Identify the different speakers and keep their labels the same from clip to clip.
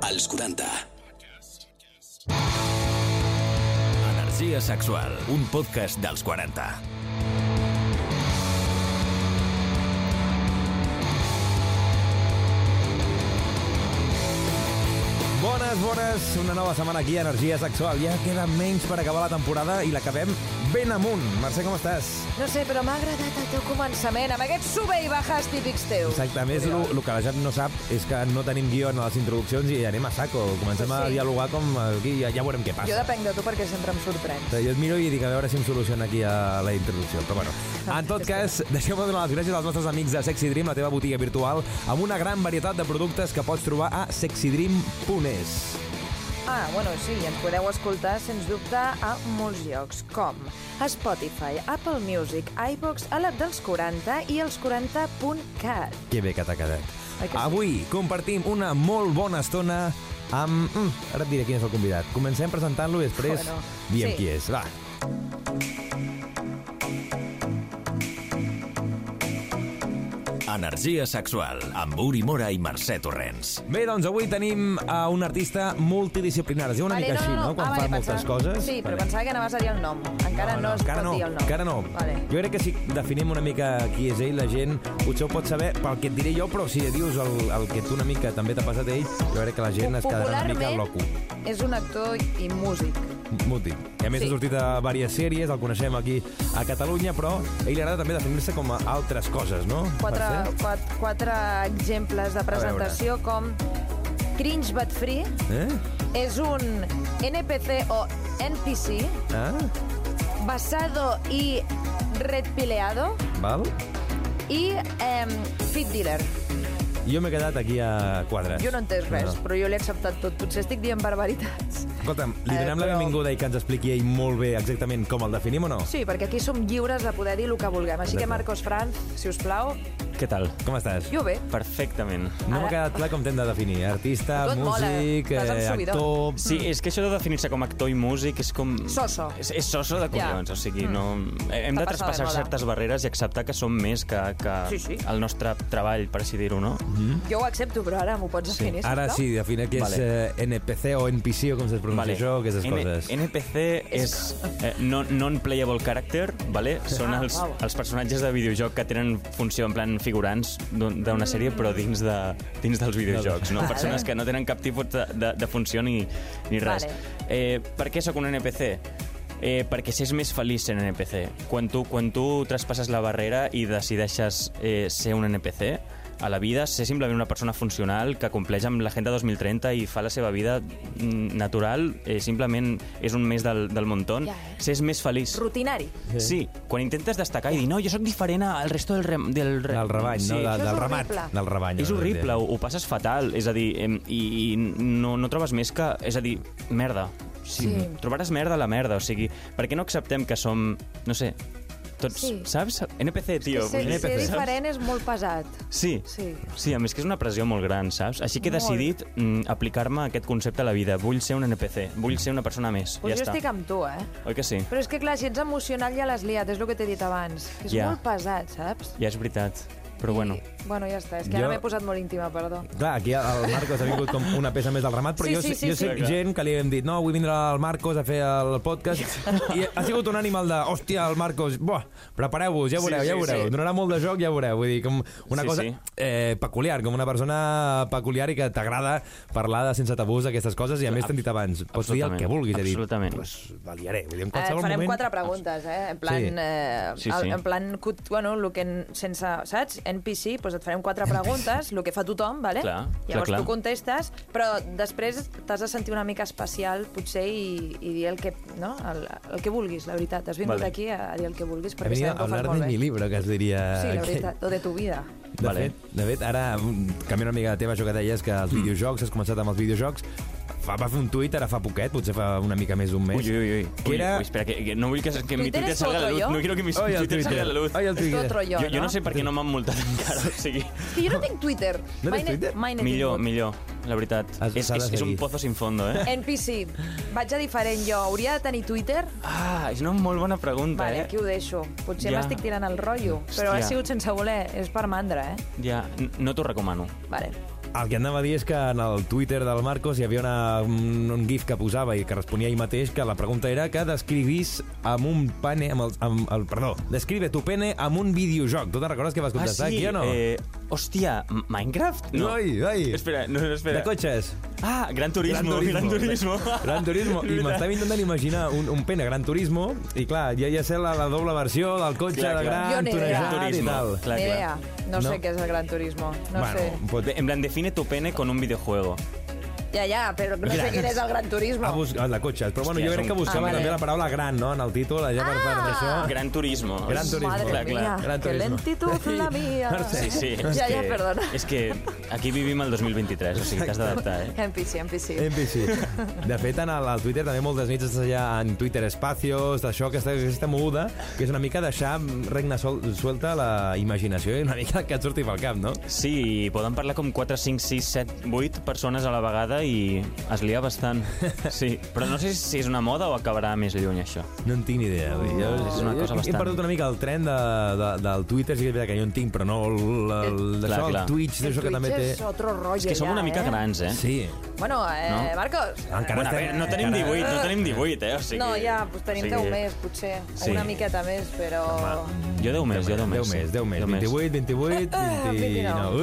Speaker 1: als 40.
Speaker 2: Energia sexual, un podcast dels 40.
Speaker 3: Bones, bones, una nova setmana aquí a Energia Sexual. Ja queda menys per acabar la temporada i l'acabem ben amunt. Mercè, com estàs?
Speaker 4: No sé, però m'ha agradat el teu començament, amb aquests sube i bajas típics teus.
Speaker 3: Exacte, a més, el que la Jap no sap és que no tenim guió en les introduccions i anem a saco. Comencem
Speaker 4: Sí.
Speaker 3: a dialogar com aquí, ja, ja veurem què
Speaker 4: Jo
Speaker 3: passa.
Speaker 4: depenc de tu perquè sempre em sorprens.
Speaker 3: Jo et miro i dic a veure si em soluciona aquí a la introducció. Però bueno, en tot cas, deixeu-me donar les gràcies als nostres amics de Sexy Dream, la teva botiga virtual, amb una gran varietat de productes que pots trobar a sexydream.es.
Speaker 4: Ah, bueno, sí, ens podeu escoltar, sens dubte, a molts llocs, com a Spotify, Apple Music, iVox, a l'app dels 40 i els 40.cat.
Speaker 3: Que bé que t'ha quedat.
Speaker 4: Oi que sí?
Speaker 3: Avui compartim una molt bona estona amb... Mm, ara et diré quin és el convidat. Comencem presentant-lo i després
Speaker 4: Bueno,
Speaker 3: diem
Speaker 4: sí.
Speaker 3: qui és. Va.
Speaker 2: Energia sexual, amb Uri Mora i Mercè Torrents.
Speaker 3: Bé, doncs avui tenim a un artista multidisciplinar. Es diu una mica així, no? Quan
Speaker 4: Ah,
Speaker 3: fa
Speaker 4: vale,
Speaker 3: moltes
Speaker 4: pensava-
Speaker 3: coses.
Speaker 4: Sí, però
Speaker 3: Vale.
Speaker 4: pensava que anaves a dir el nom. Encara no, es
Speaker 3: encara
Speaker 4: pot
Speaker 3: no,
Speaker 4: dir el nom.
Speaker 3: Encara no.
Speaker 4: Vale.
Speaker 3: Jo crec que si definim una mica qui és ell, la gent potser ho pot saber pel que et diré jo, però si dius el, el que tu una mica també t'ha passat a ell, jo crec que la gent es quedarà una mica loco.
Speaker 4: Popularment és un actor i músic.
Speaker 3: Muti. Que a més
Speaker 4: Sí.
Speaker 3: sí. ha sortit a diverses sèries, el coneixem aquí a Catalunya, però a ell li agrada també definir-se com a altres coses, no?
Speaker 4: Quatre,
Speaker 3: Mercè?
Speaker 4: quatre, quatre exemples de presentació com Cringe but Free,
Speaker 3: Eh?
Speaker 4: es un NPC o NPC
Speaker 3: Ah,
Speaker 4: basado y redpileado
Speaker 3: val.
Speaker 4: y em, fit dealer.
Speaker 3: Jo m'he quedat aquí a quadres.
Speaker 4: Jo no he entès res, però jo l'he acceptat tot. Potser estic dient barbaritats.
Speaker 3: Escolta'm, li
Speaker 4: Eh,
Speaker 3: donem la
Speaker 4: però-
Speaker 3: benvinguda i que ens expliqui ell molt bé exactament com el definim o no?
Speaker 4: Sí, perquè aquí som lliures de poder dir el que vulguem. Així que,
Speaker 3: Exacte.
Speaker 4: Marcos Franz, si us plau,
Speaker 5: Què tal?
Speaker 3: Com estàs?
Speaker 4: jo bé.
Speaker 5: Perfectament.
Speaker 3: No
Speaker 4: Ara-
Speaker 3: m'ha quedat clar com t'hem de definir. Artista,
Speaker 4: Tot mola.
Speaker 3: músic,
Speaker 4: Vas amb
Speaker 3: eh,
Speaker 4: subidón.
Speaker 3: actor...
Speaker 5: Sí, és que això de definir-se com actor i músic és com...
Speaker 4: Soso.
Speaker 5: És, és soso de collons, o sigui, no... Hem
Speaker 4: Està
Speaker 5: de
Speaker 4: passada de
Speaker 5: traspassar
Speaker 4: moda.
Speaker 5: certes barreres i acceptar que som més que, que
Speaker 4: Sí, sí.
Speaker 5: el nostre treball, per així dir-ho, no?
Speaker 3: Mm,
Speaker 4: Jo ho accepto, però ara m'ho pots definir,
Speaker 3: Ara
Speaker 4: sisplau?
Speaker 3: sí, definir que és
Speaker 5: Vale.
Speaker 3: eh, NPC o NPC o com se pronuncia vale. això, aquestes
Speaker 5: N-
Speaker 3: coses.
Speaker 5: NPC és eh, no- non-playable character, vale? són
Speaker 4: Ah,
Speaker 5: els,
Speaker 4: uau.
Speaker 5: els personatges de videojoc que tenen funció en plan figurants d'un- d'una sèrie, però dins, de, dins dels videojocs.
Speaker 4: Mm.
Speaker 5: No?
Speaker 4: Vale.
Speaker 5: Persones que no tenen cap tipus de, de, de funció ni, ni res.
Speaker 4: Vale.
Speaker 5: Eh, per què sóc un NPC? Eh, perquè s'és més feliç sent NPC. Quan tu, quan tu traspasses la barrera i decideixes eh, ser un NPC a la vida, ser simplement una persona funcional que compleix amb l'agenda 2030 i fa la seva vida mm, natural, eh, simplement és un més del, del muntó,
Speaker 4: Ja, eh?
Speaker 5: s'és més feliç.
Speaker 4: Rutinari.
Speaker 5: Sí, quan intentes destacar i dir no, jo sóc diferent al resto del... Rem, del, re...
Speaker 3: Del rebany,
Speaker 5: sí.
Speaker 3: no? De,
Speaker 4: Això és
Speaker 3: del
Speaker 4: horrible.
Speaker 3: ramat. Del rebany.
Speaker 5: És
Speaker 3: no?
Speaker 5: horrible, ho, ho passes fatal, és a dir, em, i, i no, no trobes més que... És a dir, merda. Sí.
Speaker 4: Sí.
Speaker 5: sí. Trobaràs merda a la merda, o sigui, per què no acceptem que som, no sé, tots,
Speaker 4: Sí.
Speaker 5: sí. saps? NPC, tio.
Speaker 4: Ser,
Speaker 5: vull dir,
Speaker 4: ser
Speaker 5: saps?
Speaker 4: diferent és molt pesat.
Speaker 5: Sí. sí.
Speaker 4: Sí.
Speaker 5: Sí, a més que és una pressió molt gran, saps? Així que he
Speaker 4: Molt.
Speaker 5: decidit mm, aplicar-me aquest concepte a la vida. Vull ser un NPC, vull ser una persona més.
Speaker 4: Pues
Speaker 5: ja
Speaker 4: jo
Speaker 5: està.
Speaker 4: estic amb tu, eh?
Speaker 5: Oi que sí?
Speaker 4: Però és que, clar, si ets emocional ja l'has liat, és el que t'he dit abans. És
Speaker 5: Ja.
Speaker 4: molt pesat, saps?
Speaker 5: Ja és veritat. Però bueno.
Speaker 4: I, bueno, ja està. És que
Speaker 3: Jo-
Speaker 4: ara m'he posat molt íntima, perdó.
Speaker 3: Clar, aquí el Marcos ha vingut com una peça més del ramat, però
Speaker 4: Sí,
Speaker 3: jo,
Speaker 4: sí,
Speaker 3: sé-
Speaker 4: sí,
Speaker 3: jo sé
Speaker 5: sí. Clar, clar.
Speaker 3: gent que li hem dit no, avui vindrà el Marcos a fer el podcast i ha sigut un ànimal de, hòstia, el Marcos, buah, prepareu-vos, ja ho
Speaker 5: Sí,
Speaker 3: veureu, ja ho
Speaker 5: sí,
Speaker 3: veureu,
Speaker 5: sí.
Speaker 3: donarà molt de joc, ja ho veureu, vull dir, com una
Speaker 5: Sí,
Speaker 3: cosa
Speaker 5: sí.
Speaker 3: Eh, peculiar, com una persona peculiar i que t'agrada parlar de sense tabús d'aquestes coses i a més t'hem dit abans, pots dir el
Speaker 5: absolutament,
Speaker 3: que vulguis, he dit,
Speaker 5: absolutament.
Speaker 3: pues, la liaré, vull dir, en
Speaker 4: Eh, farem
Speaker 3: qualsevol moment...
Speaker 4: quatre preguntes, eh? En plan...
Speaker 3: Sí.
Speaker 4: Eh,
Speaker 5: Sí,
Speaker 4: el-
Speaker 5: sí.
Speaker 4: En plan, cut- bueno, el que en- sense, saps? NPC, doncs et farem quatre preguntes, el que fa tothom, vale?
Speaker 5: Clar,
Speaker 4: Llavors
Speaker 5: clar, clar.
Speaker 4: tu contestes, però després t'has de sentir una mica especial, potser, i, i dir el que, no? el, el que vulguis, la veritat. Has vingut
Speaker 5: Vale.
Speaker 4: aquí a, a dir el que vulguis,
Speaker 3: He
Speaker 4: perquè
Speaker 3: venido a
Speaker 4: sabem que ho fas
Speaker 3: hablar
Speaker 4: eh, molt
Speaker 3: de
Speaker 4: bé.
Speaker 3: mi libro, que es diria...
Speaker 4: Sí, la
Speaker 3: aquell.
Speaker 4: veritat, o de tu vida.
Speaker 3: De,
Speaker 5: Vale.
Speaker 3: vale. fet, de fet, ara, mm, canviant una mica de tema, això que deies, que els
Speaker 5: Mm.
Speaker 3: videojocs, has començat amb els videojocs, fa, va fer un tuit ara fa poquet, potser fa una mica més d'un mes.
Speaker 5: Uy, uy, uy.
Speaker 3: Que era...
Speaker 5: Uy, uy, espera, que, que no vull que, que mi
Speaker 4: Twitter
Speaker 5: Twitter
Speaker 4: es
Speaker 5: salga a la
Speaker 4: otro
Speaker 5: luz.
Speaker 4: yo.
Speaker 5: No quiero que mi
Speaker 3: Ai, el
Speaker 5: Twitter salga a la luz.
Speaker 3: Ai, el
Speaker 4: És
Speaker 3: Twitter.
Speaker 4: otro yo,
Speaker 5: jo, jo
Speaker 4: no?
Speaker 5: no sé per què no m'han multat encara, o sigui...
Speaker 4: És que jo no tinc Twitter.
Speaker 3: No tens
Speaker 4: Mai n'he-
Speaker 3: Twitter?
Speaker 4: Mai n'he
Speaker 5: Millor,
Speaker 4: tingut.
Speaker 5: millor, la veritat.
Speaker 3: Has-
Speaker 5: És,
Speaker 3: s'ha de
Speaker 5: és, és un
Speaker 3: seguir.
Speaker 5: pozo sin fondo, eh?
Speaker 4: NPC, vaig a diferent jo. Hauria de tenir Twitter?
Speaker 5: Ah, és una molt bona pregunta,
Speaker 4: Vale,
Speaker 5: eh?
Speaker 4: aquí ho deixo. Potser
Speaker 5: Ja.
Speaker 4: m'estic tirant el rotllo, però ha
Speaker 5: Hòstia.
Speaker 4: sigut sense voler. És per mandra, eh?
Speaker 5: Ja, n- no t'ho recomano.
Speaker 4: Vale.
Speaker 3: El que anava a dir és que en el Twitter del Marcos hi havia una, un, un gif que posava i que responia ell mateix que la pregunta era que descrivís amb un pane... Amb el, amb el, perdó, describe tu pene amb un videojoc. Tu te'n recordes que vas contestar aquí o no?
Speaker 5: Eh, hòstia, M- Minecraft? No.
Speaker 3: Ai, ai.
Speaker 5: Espera, no, no, espera.
Speaker 3: De cotxes.
Speaker 5: Ah, Gran Turismo,
Speaker 3: Gran
Speaker 5: Gran
Speaker 3: Turismo.
Speaker 5: Turismo.
Speaker 3: Gran Turismo. I m'estava intentant imaginar un, un pene Gran Turismo i clar, ja ja sé la, la doble versió del cotxe
Speaker 5: Clar,
Speaker 3: de
Speaker 5: clar.
Speaker 4: Jo
Speaker 3: Gran,
Speaker 4: n'he idea.
Speaker 3: tunejat
Speaker 5: Gran
Speaker 3: i
Speaker 5: Turismo.
Speaker 3: tal.
Speaker 5: Clar,
Speaker 4: Ni
Speaker 5: clar.
Speaker 4: idea. No,
Speaker 3: No.
Speaker 4: sé què és el gran turismo. No
Speaker 3: bueno,
Speaker 4: sé.
Speaker 3: Pot...
Speaker 5: En plan, define tu pene con un videojuego.
Speaker 4: Ja, ja, però no sé
Speaker 3: Gran.
Speaker 4: quin és el gran turismo.
Speaker 3: A bus... el de cotxes. Però bueno,
Speaker 5: Hòstia,
Speaker 3: jo crec
Speaker 5: és
Speaker 3: que
Speaker 5: un- Ah.
Speaker 3: buscava
Speaker 4: Ah, vale.
Speaker 3: també la paraula gran, no?, en el títol, allà per part d'això.
Speaker 5: Gran Turismo.
Speaker 3: Ah. Gran Turismo.
Speaker 4: Madre
Speaker 5: Clar, clar.
Speaker 4: mía,
Speaker 3: Gran
Speaker 4: que
Speaker 3: Turismo.
Speaker 4: lentitud la mía.
Speaker 5: Sí, sí. és
Speaker 4: Ja, ja,
Speaker 5: que-
Speaker 4: perdona.
Speaker 5: És que aquí vivim el 2023, o sigui, t'has d'adaptar, eh?
Speaker 4: NPC, NPC.
Speaker 3: NPC. De fet, en el, al Twitter també moltes nits estàs allà en Twitter Espacios, d'això, aquesta, aquesta moguda, que és una mica deixar regna sol, suelta la imaginació i una mica el que et surti pel cap, no?
Speaker 5: Sí, i poden parlar com 4, 5, 6, 7, 8 persones a la vegada i es lia bastant. Sí, però no sé si és una moda o acabarà més lluny, això.
Speaker 3: No en tinc ni idea. vull dir, Jo,
Speaker 5: És una cosa
Speaker 3: he- He
Speaker 5: bastant-
Speaker 3: perdut una mica el tren de, de, del Twitter, sí que és veritat que jo en tinc, però no el, el, el,
Speaker 5: Eh, Clar,
Speaker 3: això, el
Speaker 5: clar.
Speaker 3: Twitch,
Speaker 4: El
Speaker 3: d'això que també
Speaker 4: Twitch
Speaker 3: té...
Speaker 4: és otro rollo
Speaker 5: És que som
Speaker 4: ja,
Speaker 5: una mica
Speaker 4: eh?
Speaker 5: grans, eh?
Speaker 3: Sí.
Speaker 4: Bueno, eh,
Speaker 5: No? Ah,
Speaker 4: Marcos...
Speaker 3: Encara
Speaker 5: Bueno, a veure,
Speaker 3: estem-
Speaker 5: no tenim 18, no tenim 18, eh? O sigui,
Speaker 4: No, ja, doncs tenim
Speaker 5: o sigui,
Speaker 4: 10 més, potser.
Speaker 5: Sí.
Speaker 4: Una miqueta més, però...
Speaker 5: Jo 10 més, jo 10 més.
Speaker 3: 10 més, 10 més.
Speaker 5: Deu
Speaker 3: 28, 28, 29.
Speaker 4: 29.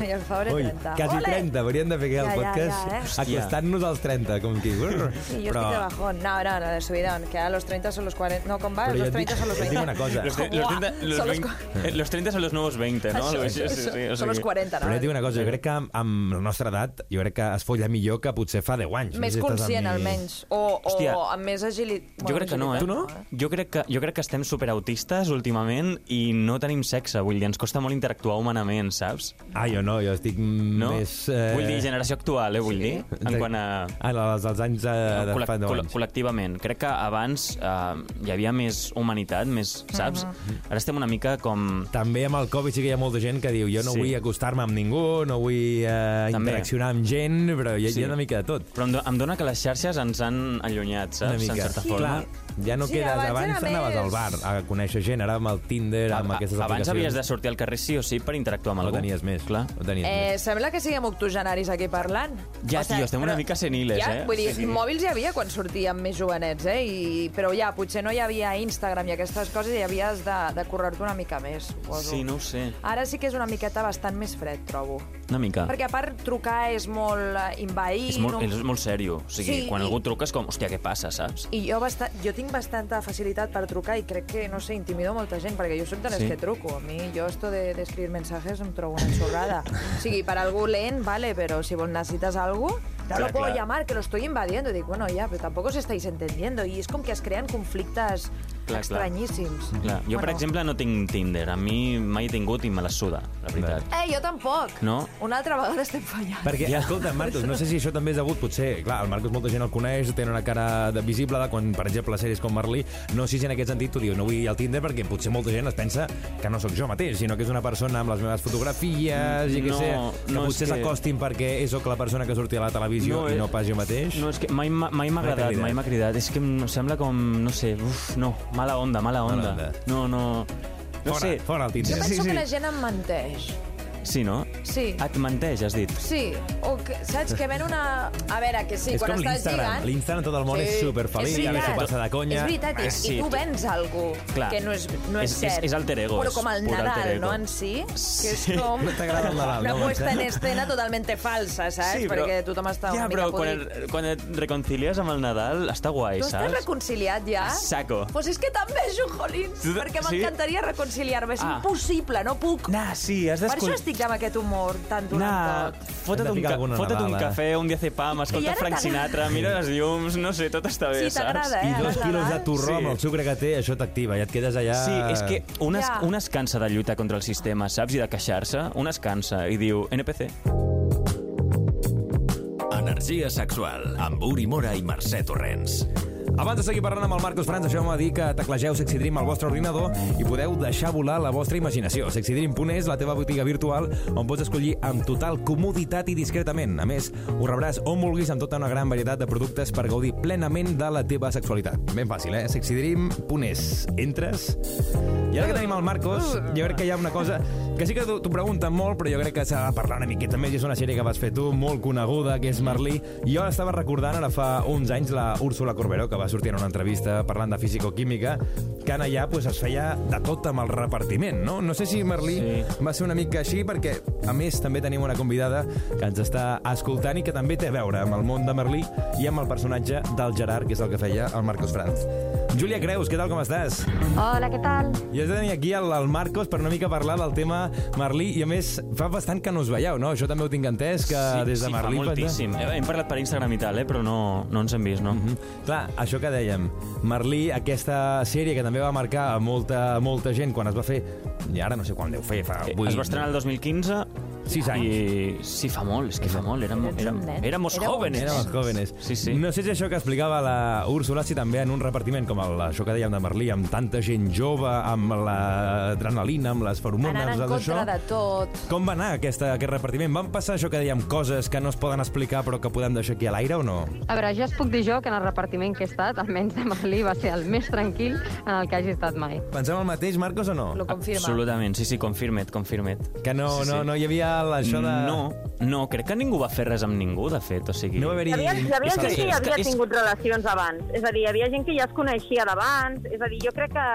Speaker 3: Ui!
Speaker 4: I el Fabra,
Speaker 3: Ui,
Speaker 4: 30.
Speaker 3: Quasi
Speaker 4: Ole!
Speaker 3: 30, hauríem de fer aquest
Speaker 4: Ja, ja,
Speaker 3: podcast
Speaker 4: ja, eh?
Speaker 5: Hòstia.
Speaker 3: acostant-nos als 30, com qui...
Speaker 4: Sí, yo estoy de bajón. No, no, no, de subidón. Que ahora los 30 son los 40. No, con
Speaker 3: Pero
Speaker 4: varios,
Speaker 3: yo
Speaker 4: los 30
Speaker 3: digo-
Speaker 4: son los
Speaker 3: yo
Speaker 4: 20.
Speaker 3: digo una cosa.
Speaker 5: Los, tre- los, 30,
Speaker 4: Buah, son
Speaker 5: los,
Speaker 4: los
Speaker 5: 20, eh, los 30 són los nuevos 20, no?
Speaker 4: Això,
Speaker 5: Algo així,
Speaker 4: això,
Speaker 5: sí, sí, o
Speaker 4: Són els
Speaker 5: sigui-
Speaker 4: 40, no? eh?
Speaker 3: Però ja et dic una cosa, jo crec que amb la nostra edat, jo crec que es folla millor que potser fa 10 anys. No
Speaker 4: Més
Speaker 3: sé si estàs amb
Speaker 4: conscient,
Speaker 3: mi.
Speaker 4: almenys. O, o
Speaker 5: Hòstia.
Speaker 4: amb més agilitat.
Speaker 5: Jo crec que no, eh? Jo crec que, jo crec que estem superautistes últimament i no tenim sexe, vull dir, ens costa molt interactuar humanament, saps?
Speaker 3: Ah, jo no, jo estic
Speaker 5: No?
Speaker 3: més... Eh...
Speaker 5: Vull dir, generació actual, eh, vull dir, en quant a...
Speaker 3: Ah, als, als anys eh, de
Speaker 5: col·lec-
Speaker 3: fa 10
Speaker 5: col-
Speaker 3: anys.
Speaker 5: col·lectivament. Crec que abans eh, hi havia més humanitat, més, saps?
Speaker 4: Mm-hmm.
Speaker 5: Ara estem una mica com...
Speaker 3: També amb el Covid sí que hi ha molta gent que diu jo no
Speaker 5: Sí.
Speaker 3: vull acostar-me amb ningú, no vull eh,
Speaker 5: També.
Speaker 3: interaccionar amb gent, però hi ha,
Speaker 5: Sí.
Speaker 3: hi ha una mica de tot.
Speaker 5: Però em, do em dóna que les xarxes ens han allunyat,
Speaker 3: Una
Speaker 5: saps? En
Speaker 3: mica.
Speaker 5: certa forma.
Speaker 3: Clar, ja no
Speaker 4: Sí,
Speaker 3: quedes...
Speaker 4: abans
Speaker 3: Abans,
Speaker 4: era
Speaker 3: t'anaves
Speaker 4: més.
Speaker 3: al bar a conèixer gent, ara amb el Tinder, amb
Speaker 5: A-
Speaker 3: aquestes
Speaker 5: Abans
Speaker 3: aplicacions...
Speaker 5: havies de sortir al carrer sí o sí per interactuar amb
Speaker 3: No
Speaker 5: algú.
Speaker 3: tenies més.
Speaker 5: Clar.
Speaker 3: No tenies més.
Speaker 4: Eh, sembla que siguem octogenaris aquí parlant.
Speaker 5: Ja, tio, estem una
Speaker 4: però-
Speaker 5: mica seniles,
Speaker 4: ja,
Speaker 5: eh?
Speaker 4: Vull dir,
Speaker 5: O sigui-
Speaker 4: mòbils hi havia quan sortíem més jovenets, eh? I, però ja, potser no hi havia Instagram i aquestes coses i havies de, de currar-te una mica més, suposo.
Speaker 5: Sí, no ho sé.
Speaker 4: Ara sí que és una miqueta bastant més fred, trobo.
Speaker 5: Una mica.
Speaker 4: Perquè a part trucar és molt eh, inveït...
Speaker 5: Ah. És molt,
Speaker 4: no-
Speaker 5: és molt sèrio. O sigui,
Speaker 4: Sí,
Speaker 5: quan
Speaker 4: i-
Speaker 5: algú truca és com, hòstia, què passa, saps?
Speaker 4: I jo, basta, jo tinc bastanta facilitat per trucar i crec que, no sé, intimido molta gent, perquè jo soc de les
Speaker 5: Sí.
Speaker 4: sí. que truco. A mi, jo esto de d'escriure mensajes em trobo una xorrada. o sigui, per algú lent, vale, però si vos necessitas algo, no
Speaker 5: Clar,
Speaker 4: lo puedo
Speaker 5: clar.
Speaker 4: llamar, que lo estoy invadiendo. I dic, bueno, ja, però tampoc os estáis entendiendo. I és com que es creen conflictes
Speaker 5: clar.
Speaker 4: clar, estranyíssims.
Speaker 5: Clar. Jo, per exemple, no tinc Tinder. A mi mai he tingut i me la suda, la veritat.
Speaker 4: Eh, jo tampoc.
Speaker 5: No?
Speaker 4: Una altra vegada estem fallant.
Speaker 3: Perquè, ja. escolta, Marcos, no sé si això també és degut, potser, clar, el Marcos molta gent el coneix, té una cara de visible de quan, per exemple, sèries com Marley, no sé si en aquest sentit tu dius, no vull ir al Tinder perquè potser molta gent es pensa que no sóc jo mateix, sinó que és una persona amb les meves fotografies, i que,
Speaker 5: No,
Speaker 3: sé, que
Speaker 5: no, és
Speaker 3: potser
Speaker 5: que-
Speaker 3: s'acostin perquè és sóc la persona que surti a la televisió
Speaker 5: No,
Speaker 3: i
Speaker 5: eh,
Speaker 3: no pas jo mateix.
Speaker 5: No, és que mai m'ha mai m'ha
Speaker 3: Mai t'ha
Speaker 5: agradat,
Speaker 3: cridat.
Speaker 5: mai m'ha cridat. És que em sembla com, no sé, uf, no, mala onda, mala onda.
Speaker 3: onda.
Speaker 5: No, no... No
Speaker 3: fora,
Speaker 5: sé.
Speaker 3: fora el
Speaker 4: Jo
Speaker 3: Tinder.
Speaker 4: penso sí, sí. que la gent em menteix.
Speaker 5: Sí, no?
Speaker 4: Sí.
Speaker 5: Et menteix, has dit.
Speaker 4: Sí, o que, saps que ven una... A veure, que sí,
Speaker 3: És
Speaker 4: quan
Speaker 3: com
Speaker 4: estàs
Speaker 3: l'Instagram.
Speaker 4: lligant...
Speaker 3: L'Instagram tot el món és superfeliç, a
Speaker 4: És
Speaker 3: veure si
Speaker 4: veritat.
Speaker 3: passa de conya.
Speaker 4: És veritat, i,
Speaker 5: Ah, sí.
Speaker 4: i tu vens a algú
Speaker 5: Clar.
Speaker 4: que no és, no és,
Speaker 5: És- és-
Speaker 4: cert.
Speaker 5: és alter ego,
Speaker 4: Però com
Speaker 5: és
Speaker 4: el
Speaker 5: pur alter
Speaker 4: Nadal,
Speaker 5: ego.
Speaker 4: no en si, que és
Speaker 5: Sí.
Speaker 4: com...
Speaker 3: No t'agrada el Nadal,
Speaker 4: Una
Speaker 3: no,
Speaker 4: puesta en
Speaker 3: Mercè?
Speaker 4: escena totalment falsa, saps? Perquè tothom està
Speaker 5: ja,
Speaker 4: una mica
Speaker 5: però quan,
Speaker 4: podrit.
Speaker 5: et, quan et reconcilies amb el Nadal està guai,
Speaker 4: Tu estàs
Speaker 5: saps?
Speaker 4: reconciliat ja?
Speaker 5: Saco.
Speaker 4: Pues és que també, Jujolins,
Speaker 5: Tu-
Speaker 4: perquè
Speaker 5: sí?
Speaker 4: m'encantaria reconciliar-me. És
Speaker 5: Ah.
Speaker 4: impossible, no puc.
Speaker 5: Nah, sí, has
Speaker 4: Per això
Speaker 5: d'escoltar...
Speaker 4: estic amb aquest humor tan durant
Speaker 5: Nah,
Speaker 4: tot.
Speaker 5: fota't
Speaker 3: Hem de
Speaker 5: un,
Speaker 3: picar
Speaker 5: ca
Speaker 3: alguna
Speaker 5: fota't un
Speaker 3: Nadal, eh?
Speaker 5: cafè, un dia cepam,
Speaker 4: I
Speaker 5: escolta
Speaker 4: ara
Speaker 5: Frank
Speaker 4: t'agrada.
Speaker 5: Sinatra, mira les llums, no sé, tot està bé,
Speaker 4: Sí, t'agrada,
Speaker 5: saps?
Speaker 4: eh?
Speaker 3: I dos
Speaker 4: Ara
Speaker 3: quilos de
Speaker 4: l'abans.
Speaker 3: torró amb
Speaker 5: Sí.
Speaker 3: el sucre que té, això t'activa, ja et quedes allà...
Speaker 5: Sí, és que
Speaker 3: Ah.
Speaker 5: un es,
Speaker 4: Ja.
Speaker 5: un es cansa de lluitar contra el sistema, saps? I de queixar-se, un es cansa i diu NPC.
Speaker 2: Energia sexual amb Uri Mora i Mercè Torrents.
Speaker 3: Abans de seguir parlant amb el Marcos Franz, això m'ha dit que teclegeu Sexy Dream al vostre ordinador i podeu deixar volar la vostra imaginació. Sexydream.es, la teva botiga virtual, on pots escollir amb total comoditat i discretament. A més, ho rebràs on vulguis amb tota una gran varietat de productes per gaudir plenament de la teva sexualitat. Ben fàcil, eh? Sexydream.es. Entres... I ara que tenim el Marcos, jo crec que hi ha una cosa que sí que t'ho t'ho pregunten molt, però jo crec que s'ha de parlar una miqueta més. I és una sèrie que vas fer tu, molt coneguda, que és Merlí. Jo estava recordant ara fa uns anys la Úrsula Corberó, que va sortir en una entrevista parlant de físico-química, que en allà pues, es feia de tot amb el repartiment, no? No sé si Merlí sí.
Speaker 5: Sí.
Speaker 3: va ser una mica així, perquè, a més, també tenim una convidada que ens està escoltant i que també té a veure amb el món de Merlí i amb el personatge del Gerard, que és el que feia el Marcos Franz. Júlia Creus, què tal, com estàs?
Speaker 1: Hola, què tal?
Speaker 3: I has de tenir aquí el, el Marcos per una mica parlar del tema Merlí, i a més, fa bastant que no us veieu, no? Això també ho tinc entès, que des de
Speaker 5: sí,
Speaker 3: Merlí...
Speaker 5: fa
Speaker 3: pues,
Speaker 5: moltíssim. Hem parlat per Instagram i tal, eh, però no, no ens hem vist, no? Mm -hmm.
Speaker 3: Clar, això que dèiem, Merlí, aquesta sèrie que també va marcar a molta, molta gent quan es va fer, i ara no sé quan deu fer, fa... vuit-
Speaker 5: Eh, Es va estrenar el 2015...
Speaker 3: Sis anys.
Speaker 5: I... Sí, fa molt, és que fa molt. Érem,
Speaker 4: Eres
Speaker 5: érem,
Speaker 4: un nen.
Speaker 5: éramos
Speaker 4: Érem uns
Speaker 5: jóvenes.
Speaker 3: Éramos jóvenes.
Speaker 5: Sí, sí.
Speaker 3: No sé si això que explicava la Úrsula, si també en un repartiment com el, això que dèiem de Merlí, amb tanta gent jove, amb l'adrenalina, amb les feromones...
Speaker 1: Anant en
Speaker 3: tot
Speaker 1: contra
Speaker 3: això,
Speaker 1: de tot.
Speaker 3: Com va anar aquesta, aquest repartiment? Van passar això que dèiem coses que no es poden explicar però que podem deixar aquí a l'aire o no?
Speaker 6: A veure, ja es puc dir jo que en el repartiment que he estat, almenys de Merlí, va ser el més tranquil en el que hagi estat mai.
Speaker 3: Pensem el mateix, Marcos, o no?
Speaker 1: Lo confirma.
Speaker 5: Absolutament, sí, sí, confirma't, confirma't.
Speaker 3: Que no,
Speaker 5: Sí, sí.
Speaker 3: no, no hi havia el- això de...
Speaker 5: No, no, crec que ningú va fer res amb ningú, de fet, o sigui...
Speaker 3: No va haver-hi...
Speaker 7: Hi havia, hi havia gent que
Speaker 5: és
Speaker 7: ja havia
Speaker 5: que és-
Speaker 7: tingut relacions abans. És a dir, hi havia gent que ja es coneixia d'abans. És a dir, jo crec que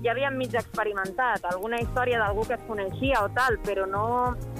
Speaker 7: ja havien mig experimentat alguna història d'algú que es coneixia o tal, però no...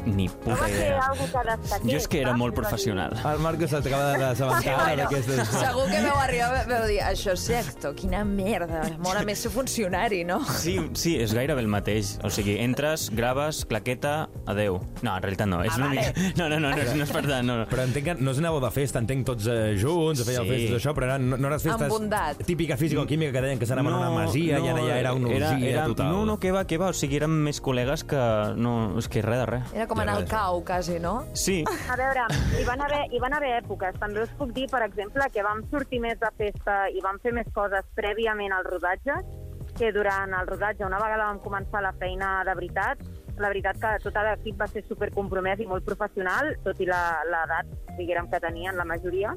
Speaker 5: Ni
Speaker 7: No
Speaker 5: puta
Speaker 7: va ser
Speaker 5: idea.
Speaker 7: algo que destaqués.
Speaker 5: Jo és que era
Speaker 7: saps?
Speaker 5: molt
Speaker 7: És a dir,
Speaker 5: professional.
Speaker 3: El Marcos s'acaba de assabentar ara d'aquestes...
Speaker 4: Segur que veu arribar veu dir, això és sexto, quina merda, mola més ser funcionari, no?
Speaker 5: Sí, sí, és gairebé el mateix. O sigui, entres, graves, claqueta, adeu. No, en realitat
Speaker 4: Ah,
Speaker 5: no. És una mica... No, no, no, no, és- no és per tant, no. no.
Speaker 3: Però entenc que no us anàveu de festa, entenc tots eh, junts, a fer sí.
Speaker 5: Sí.
Speaker 3: festes això, però eren, no, no eren festes
Speaker 4: Amb bondat.
Speaker 3: típica físico-química que deien que s'anaven a una masia i ara ja era una orgia total.
Speaker 5: No, no, que va, que va. O sigui, érem més col·legues que... No, és que res de res.
Speaker 4: Era com anar al cau, quasi, no?
Speaker 5: Sí,
Speaker 7: A veure, hi van, haver, hi van haver èpoques. També us puc dir, per exemple, que vam sortir més de festa i vam fer més coses prèviament al rodatge que durant el rodatge. Una vegada vam començar la feina de veritat, la veritat que tot l'equip va ser supercompromès i molt professional, tot i la- l'edat diguem que tenien la majoria.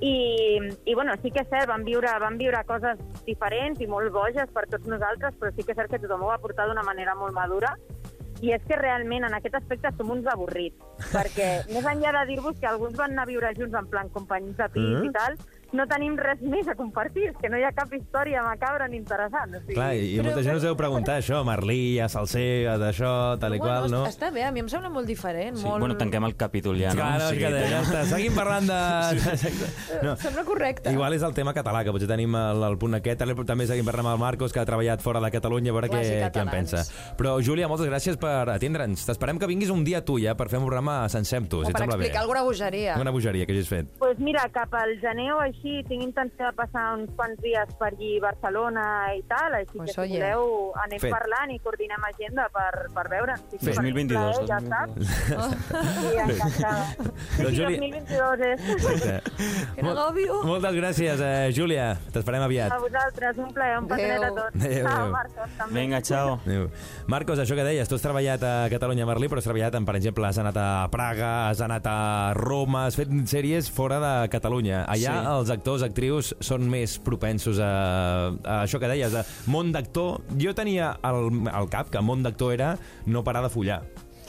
Speaker 7: I, i bueno, sí que és cert, vam viure, vam viure coses diferents i molt boges per tots nosaltres, però sí que és cert que tothom ho va portar d'una manera molt madura i és que realment en aquest aspecte som uns avorrits, perquè més enllà de dir-vos que alguns van anar a viure junts en plan companys de pis
Speaker 3: Mhm.
Speaker 7: i tal, no tenim res més a compartir, és que no hi ha cap història macabra ni interessant. O sigui,
Speaker 3: Clar, i, i molta gent us deu preguntar això, Merlí, a Salser, a d'això, tal i qual, no?
Speaker 4: Està bé, a mi em sembla molt diferent.
Speaker 5: sí.
Speaker 4: molt...
Speaker 5: Bueno, tanquem el capítol ja, no?
Speaker 3: Clar, no,
Speaker 5: O
Speaker 3: és
Speaker 5: sigui,
Speaker 3: que de- ja està. Seguim parlant de... No.
Speaker 4: Sembla correcte.
Speaker 3: Igual és el tema català, que potser tenim el, el punt aquest. Ara també seguim parlant amb el Marcos, que ha treballat fora de Catalunya, a veure què,
Speaker 4: Quasi
Speaker 3: què en
Speaker 4: catalans.
Speaker 3: pensa. Però, Júlia, moltes gràcies per atendre'ns. T'esperem que vinguis un dia tu, ja, per fer un programa sencer amb tu,
Speaker 4: O
Speaker 3: si et
Speaker 4: per
Speaker 3: sembla bé.
Speaker 4: explicar alguna bogeria.
Speaker 3: Una bogeria que hagis fet.
Speaker 7: Pues mira, cap al gener o així tinc intenció de passar uns quants dies per allí a Barcelona i tal, així
Speaker 4: Pues
Speaker 7: que si
Speaker 4: oye.
Speaker 7: voleu anem
Speaker 3: Fet.
Speaker 7: parlant i coordinem agenda per, per veure'ns. Sí,
Speaker 5: Fet. 2022,
Speaker 7: Ja
Speaker 5: 2022.
Speaker 7: saps? Sí, encantada.
Speaker 3: Doncs,
Speaker 7: Sí,
Speaker 3: Júlia-
Speaker 7: 2022 és.
Speaker 4: Que n'agòbio.
Speaker 3: Moltes gràcies, eh, Júlia. T'esperem aviat.
Speaker 7: A vosaltres, un plaer, un
Speaker 4: Adéu.
Speaker 7: passadet a tots.
Speaker 3: Adéu,
Speaker 7: Ciao,
Speaker 3: adéu.
Speaker 7: Marcos, també.
Speaker 5: Vinga, ciao.
Speaker 3: Adéu. Marcos, això que deies, tu has treballat a Catalunya Merlí, però has treballat, en, per exemple, has anat a Praga, has anat a Roma, has fet sèries fora de Catalunya. Allà sí. els
Speaker 5: Sí.
Speaker 3: actors, actrius, són més propensos a, a això que deies, de món d'actor. Jo tenia al, al cap que món d'actor era no parar de follar.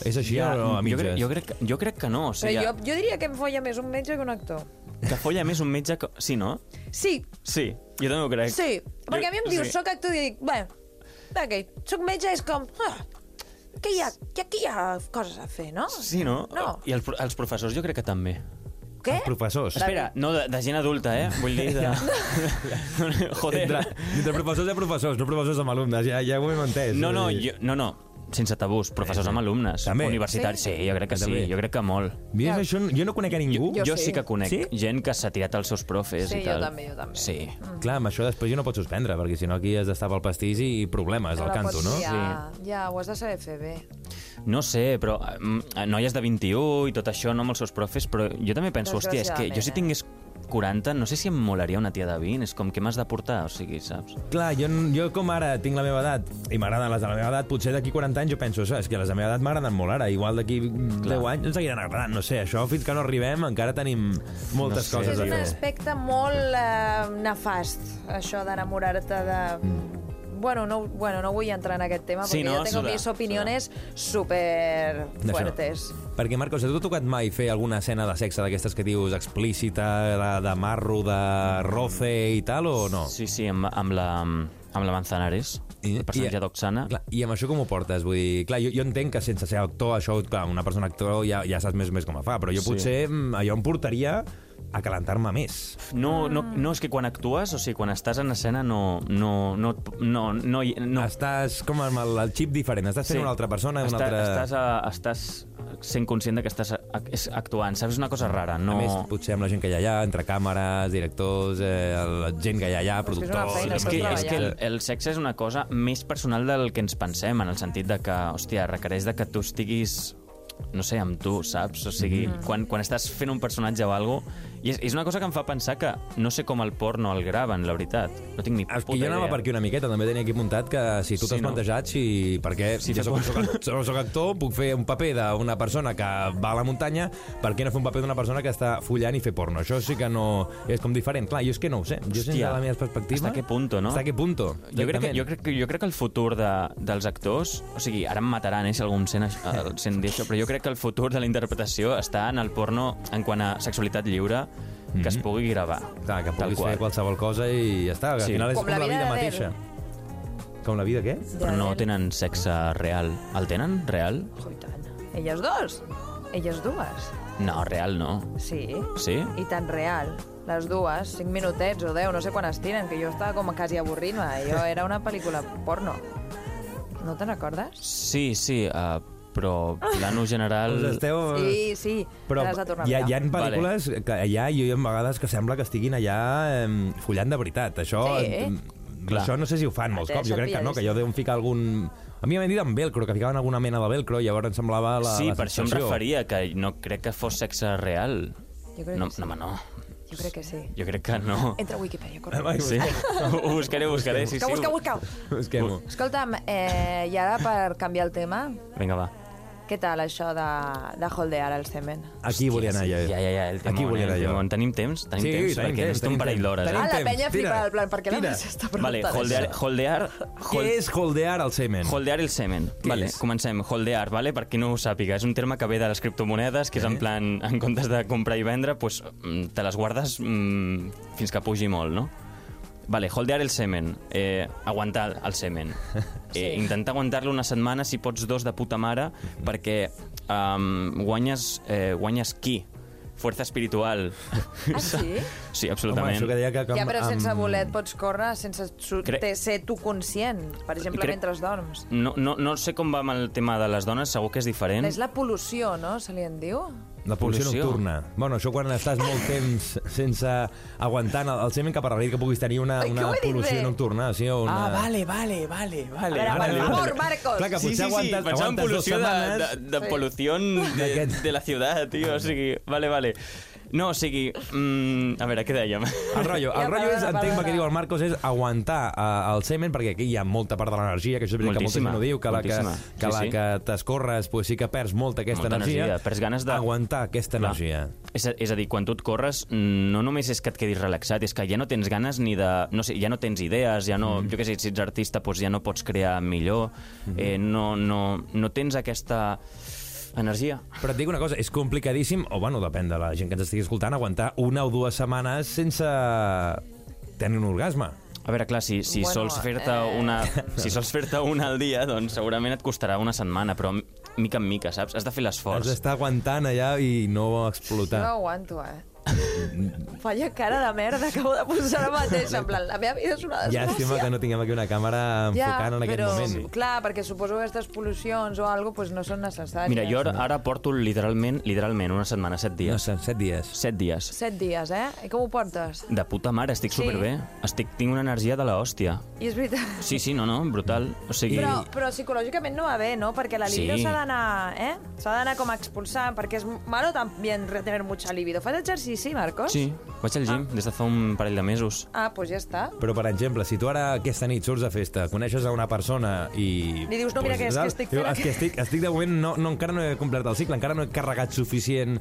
Speaker 3: És així ja, o no, a
Speaker 5: jo,
Speaker 3: mitges?
Speaker 5: crec, jo, crec, que- jo crec que no. O
Speaker 4: Però
Speaker 5: sigui,
Speaker 4: jo, jo diria que em folla més un metge que un actor.
Speaker 5: que folla més un metge que... Sí, no?
Speaker 4: Sí,
Speaker 5: Sí, jo també ho crec.
Speaker 4: sí. Perquè a mi em
Speaker 5: Eh, Jo-
Speaker 4: dius, soc actor, i dic, bé, ok, soc metge, és com... Ah, que hi ha, que aquí hi ha coses a fer, no?
Speaker 5: Sí, no?
Speaker 4: No.
Speaker 5: I els, pro- els professors jo crec que també.
Speaker 4: Què?
Speaker 3: Els professors.
Speaker 5: Espera, no, de, de gent adulta, eh? Vull dir, de... Joder.
Speaker 3: Entre, entre professors i professors, no professors amb alumnes, ja, ja ho hem entès.
Speaker 5: No, no,
Speaker 3: És a dir,
Speaker 5: jo, no, no, sense tabús, professors amb alumnes,
Speaker 3: També.
Speaker 5: universitaris, sí, jo crec que sí,
Speaker 3: També.
Speaker 5: jo crec que molt.
Speaker 3: Mira, això, no- jo no conec a ningú.
Speaker 5: Jo, jo sí.
Speaker 4: sí.
Speaker 5: que conec
Speaker 3: Sí?
Speaker 5: gent que s'ha tirat als seus profes
Speaker 4: Sí,
Speaker 5: i
Speaker 4: jo
Speaker 5: tal.
Speaker 4: també, jo també.
Speaker 5: Sí.
Speaker 3: Mm. Clar, amb això després jo no pots suspendre, perquè si no aquí has d'estar pel pastís i problemes al canto, no?
Speaker 4: Ja, ja, ho has de saber fer bé.
Speaker 5: No sé, però mm, noies de 21 i tot això, no amb els seus profes, però jo també penso, hòstia, és que jo si
Speaker 4: Desgraciadament, eh?
Speaker 5: tingués 40, no sé si em molaria una tia de 20, és com que m'has de portar, o sigui, saps?
Speaker 3: Clar, jo, jo com ara tinc la meva edat i m'agraden les de la meva edat, potser d'aquí 40 anys jo penso, saps, que les de la meva edat m'agraden molt ara, igual d'aquí 10 anys ens seguiran agradant, no sé, això fins que no arribem encara tenim moltes
Speaker 5: No sé.
Speaker 3: coses
Speaker 4: És
Speaker 3: a
Speaker 4: un
Speaker 3: fer.
Speaker 4: aspecte molt eh, nefast, això d'enamorar-te de...
Speaker 3: Mm.
Speaker 4: Bueno no, bueno, no vull entrar en aquest tema,
Speaker 5: Sí,
Speaker 4: perquè
Speaker 5: no,
Speaker 4: jo tengo
Speaker 5: sobre-
Speaker 4: mis opiniones super
Speaker 3: D'això.
Speaker 4: fuertes.
Speaker 3: Perquè, Marcos, a tu t'ha tocat mai fer alguna escena de sexe d'aquestes que dius explícita, de, de marro, de roce i tal, o no?
Speaker 5: Sí, sí, amb, amb la, amb la Manzanares,
Speaker 3: I-
Speaker 5: el personatge
Speaker 3: i-
Speaker 5: d'Oxana.
Speaker 3: Ah. Clar, I amb això com ho portes? Vull dir, clar, jo, jo entenc que sense ser actor, això, clar, una persona actor ja, ja saps més més com a fa, però jo
Speaker 5: Sí.
Speaker 3: potser mm, allò em portaria a calentar-me més.
Speaker 5: No, no,
Speaker 4: Ah.
Speaker 5: no, és que quan actues, o sigui, quan estàs en escena no... no, no, no, no, hi- no
Speaker 3: Estàs com amb el, el xip diferent, estàs sent
Speaker 5: Sí.
Speaker 3: una altra persona, una
Speaker 5: Està-
Speaker 3: altra...
Speaker 5: Estàs, a, estàs sent conscient de que estàs a, és actuant, saps? És una cosa rara,
Speaker 3: A
Speaker 5: no...
Speaker 3: més, potser amb la gent que hi ha allà, entre càmeres, directors, eh, la gent que hi ha allà,
Speaker 4: és una
Speaker 3: productors...
Speaker 4: feina,
Speaker 5: és que,
Speaker 4: estàs
Speaker 5: és que el,
Speaker 4: treballant.
Speaker 5: el sexe és una cosa més personal del que ens pensem, en el sentit de que, hòstia, requereix de que tu estiguis no sé, amb tu, saps? O sigui,
Speaker 4: Mm-hmm.
Speaker 5: quan, quan estàs fent un personatge o algo i és, és una cosa que em fa pensar que no sé com el porno el graven, la veritat. No tinc ni
Speaker 3: És
Speaker 5: puta
Speaker 3: que jo anava
Speaker 5: idea.
Speaker 3: per aquí una miqueta, també tenia aquí apuntat que si tu
Speaker 5: Sí,
Speaker 3: t'has
Speaker 5: no?
Speaker 3: plantejat si... Perquè si
Speaker 5: Sí,
Speaker 3: jo
Speaker 5: fa
Speaker 3: soc, soc, soc, soc actor, puc fer un paper d'una persona que va a la muntanya, per què no fer un paper d'una persona que està follant i fer porno? Això sí que no... És com diferent. Clar, jo és que no ho sé. Jo sense
Speaker 5: Hòstia,
Speaker 3: la meva perspectiva...
Speaker 5: hasta qué punto, no?
Speaker 3: Hasta qué punto.
Speaker 5: Jo crec, que,
Speaker 3: exactament.
Speaker 5: jo, crec que, jo crec que el futur de, dels actors... O sigui, ara em mataran, eh, si algú em sent, aix- el sent dir això, però jo crec que el futur de la interpretació està en el porno en quant a sexualitat lliure que es pugui gravar.
Speaker 3: Mhm. Clar, que
Speaker 5: tal
Speaker 3: puguis
Speaker 5: qual.
Speaker 3: fer qualsevol cosa i ja està. que Al
Speaker 5: Sí.
Speaker 3: final és
Speaker 4: Com
Speaker 3: com,
Speaker 4: la
Speaker 3: la
Speaker 4: vida
Speaker 3: vida
Speaker 4: d'Adele.
Speaker 3: mateixa. Com la vida què?
Speaker 5: Però no tenen sexe real. El tenen real?
Speaker 4: Oh, i tant. Elles dos? Elles dues?
Speaker 5: No, real no.
Speaker 4: Sí.
Speaker 5: Sí?
Speaker 4: I tan real. Les dues, 5 minutets o 10, no sé quan es tiren, que jo estava com quasi avorrint-me. Jo era una pel·lícula porno. No te'n recordes?
Speaker 5: Sí, sí, uh, però plano general...
Speaker 3: Us Doncs esteu...
Speaker 4: Sí, sí,
Speaker 3: Oh. Però
Speaker 4: l'has de tornar a
Speaker 3: hi ha,
Speaker 4: mirar.
Speaker 3: hi ha pel·lícules vale. que allà jo hi ha vegades que sembla que estiguin allà eh, follant de veritat. Això,
Speaker 4: Sí.
Speaker 3: em-
Speaker 5: Clar.
Speaker 3: això no sé si ho fan molts
Speaker 4: Té
Speaker 3: cops. Jo crec que no, que jo deuen ficar algun... A mi m'han dit amb velcro, que ficaven alguna mena de velcro i llavors em semblava la,
Speaker 5: sí,
Speaker 3: la
Speaker 5: per això em
Speaker 3: sensació.
Speaker 5: referia, que no crec que fos sexe real.
Speaker 4: Jo crec
Speaker 5: no,
Speaker 4: que sí.
Speaker 5: no, home, no.
Speaker 4: Jo crec que sí.
Speaker 5: Jo crec que no.
Speaker 4: Entra a Wikipedia, corre.
Speaker 3: Ai,
Speaker 5: Sí, ho buscaré, ho buscaré. Sí,
Speaker 4: Busca,
Speaker 5: sí.
Speaker 4: busca, busca.
Speaker 3: Busquem-ho.
Speaker 4: Escolta'm, eh, i ara per canviar el tema,
Speaker 5: Vinga, va.
Speaker 4: què tal això de, de holdear el semen?
Speaker 3: Aquí volia anar jo.
Speaker 5: Ja, ja, ja, el temón,
Speaker 3: Aquí volia
Speaker 5: eh,
Speaker 3: anar
Speaker 5: el
Speaker 3: jo.
Speaker 5: temón. Tenim temps? Tenim
Speaker 3: Sí, tenim
Speaker 5: temps? perquè
Speaker 3: temps,
Speaker 5: necessito
Speaker 3: tenim
Speaker 5: un parell
Speaker 3: temps.
Speaker 5: d'hores,
Speaker 4: Ah,
Speaker 5: eh?
Speaker 3: Tenim-
Speaker 4: la
Speaker 3: temps,
Speaker 4: penya
Speaker 3: tira.
Speaker 4: flipa el plan, perquè la
Speaker 3: Tira.
Speaker 4: Mari s'està
Speaker 5: Vale,
Speaker 4: preguntant
Speaker 5: holdear,
Speaker 4: això.
Speaker 5: holdear,
Speaker 3: Què
Speaker 5: hol-
Speaker 3: és holdear el semen?
Speaker 5: Holdear el semen.
Speaker 3: Què
Speaker 5: vale,
Speaker 3: és?
Speaker 5: comencem. Holdear, vale? per qui no ho sàpiga. És un terme que ve de les criptomonedes, que és en plan, en comptes de comprar i vendre, pues, mm, te les guardes mm, fins que pugi molt, no? Vale, holdear el semen. Eh, aguantar el semen. Eh, intentar aguantar-lo una setmana, si pots dos de puta mare,
Speaker 3: Mhm.
Speaker 5: perquè um, guanyes, eh, guanyes qui? Fuerza espiritual.
Speaker 4: Ah, sí?
Speaker 5: Sí,
Speaker 3: Home,
Speaker 5: absolutament.
Speaker 3: això que deia que...
Speaker 4: Ja, però sense
Speaker 3: amb-
Speaker 4: bolet pots córrer sense su-
Speaker 5: Crec-
Speaker 4: te- ser tu conscient, per exemple,
Speaker 5: Crec-
Speaker 4: mentre dorms.
Speaker 5: No, no, no sé com va amb el tema de les dones, segur que és diferent.
Speaker 4: És la pol·lució, no?, se li en diu?
Speaker 3: La pol·lució
Speaker 5: Pol·lució.
Speaker 3: nocturna. Bueno, això quan estàs molt temps sense aguantant el, el semen cap a la nit que puguis tenir una,
Speaker 4: Ai, que
Speaker 3: una
Speaker 4: ho he dit
Speaker 3: pol·lució
Speaker 4: bé.
Speaker 3: nocturna. Sí, o una...
Speaker 5: Ah, vale, vale, vale,
Speaker 4: A
Speaker 5: vale.
Speaker 4: veure,
Speaker 5: vale,
Speaker 4: per
Speaker 5: vale.
Speaker 4: favor, Marcos.
Speaker 3: Clar, que
Speaker 5: Sí,
Speaker 3: potser
Speaker 5: sí, sí,
Speaker 3: aguantes,
Speaker 5: pensava en
Speaker 3: aguantes dues
Speaker 5: pol·lució de,
Speaker 3: setmanes...
Speaker 5: de, de
Speaker 4: Sí.
Speaker 5: pol·lució de,
Speaker 3: D'aquest.
Speaker 5: de la ciutat, tio, o sigui, vale, vale. No, o sigui, mm, a veure, què dèiem?
Speaker 3: El rotllo,
Speaker 4: Ja,
Speaker 3: el rotllo és,
Speaker 4: perdona,
Speaker 3: entenc el
Speaker 4: perdona.
Speaker 3: que diu el Marcos, és aguantar eh, el semen, perquè aquí hi ha molta part de l'energia, que això és veritat que molta
Speaker 5: Moltíssima,
Speaker 3: gent ho diu, que la que,
Speaker 5: moltíssima.
Speaker 3: que,
Speaker 5: Sí,
Speaker 3: la
Speaker 5: sí.
Speaker 3: que t'escorres pues, sí que perds molta aquesta
Speaker 5: Molta energia, perds ganes de-
Speaker 3: Aguantar aquesta
Speaker 5: Clar.
Speaker 3: energia.
Speaker 5: És a, és a dir, quan tu et corres, no només és que et quedis relaxat, és que ja no tens ganes ni de... No sé, ja no tens idees, ja
Speaker 3: Mhm.
Speaker 5: no... Mm. Jo què sé, si ets artista, doncs ja no pots crear millor, mm -hmm. eh, no, no, no tens aquesta energia.
Speaker 3: Però et dic una cosa, és complicadíssim, o bueno, depèn de la gent que ens estigui escoltant, aguantar una o dues setmanes sense tenir un orgasme.
Speaker 5: A veure, clar, si, si
Speaker 4: Bueno,
Speaker 5: bueno, sols fer-te
Speaker 4: eh.
Speaker 5: eh... una... Si sols fer-te una al dia, doncs segurament et costarà una setmana, però mica en mica, saps? Has de fer
Speaker 3: Has
Speaker 5: l'esforç.
Speaker 3: d'estar aguantant allà i no
Speaker 4: Jo
Speaker 3: explotar.
Speaker 4: no aguanto, eh? Falla cara de merda que acabo de posar ara mateix. En plan, la meva vida és una desgràcia.
Speaker 3: Llàstima que no tinguem aquí una càmera enfocant en aquest
Speaker 4: però,
Speaker 3: moment.
Speaker 4: Clar, perquè suposo que aquestes pol·lucions o alguna cosa no són necessàries.
Speaker 5: Mira, jo ara, ara porto literalment, literalment, una setmana, set
Speaker 3: No
Speaker 5: dies.
Speaker 3: sé, set dies.
Speaker 5: Set dies.
Speaker 4: Set dies, eh? I com ho portes?
Speaker 5: De puta mare, estic
Speaker 4: Sí.
Speaker 5: superbé. Estic, tinc una energia de la hòstia.
Speaker 4: I és veritat.
Speaker 5: Sí, sí, no, no, brutal. O sigui...
Speaker 4: Però, però psicològicament no va bé, ¿no? Perquè la libido
Speaker 5: Sí.
Speaker 4: s'ha d'anar, eh? S'ha d'anar com a expulsar, perquè és malo també retener mucha libido. Fas exercici, Marcos?
Speaker 5: Sí, Vaig al gym des de fa un parell de mesos.
Speaker 4: Ah, doncs ja està.
Speaker 3: Però, per exemple, si tu ara aquesta nit surts a festa, coneixes a una persona i...
Speaker 4: Li dius, "No, mira que és que estic fent
Speaker 3: Diu, "És que estic, estic de moment, no, no, encara no he complert el cicle, encara no he carregat suficient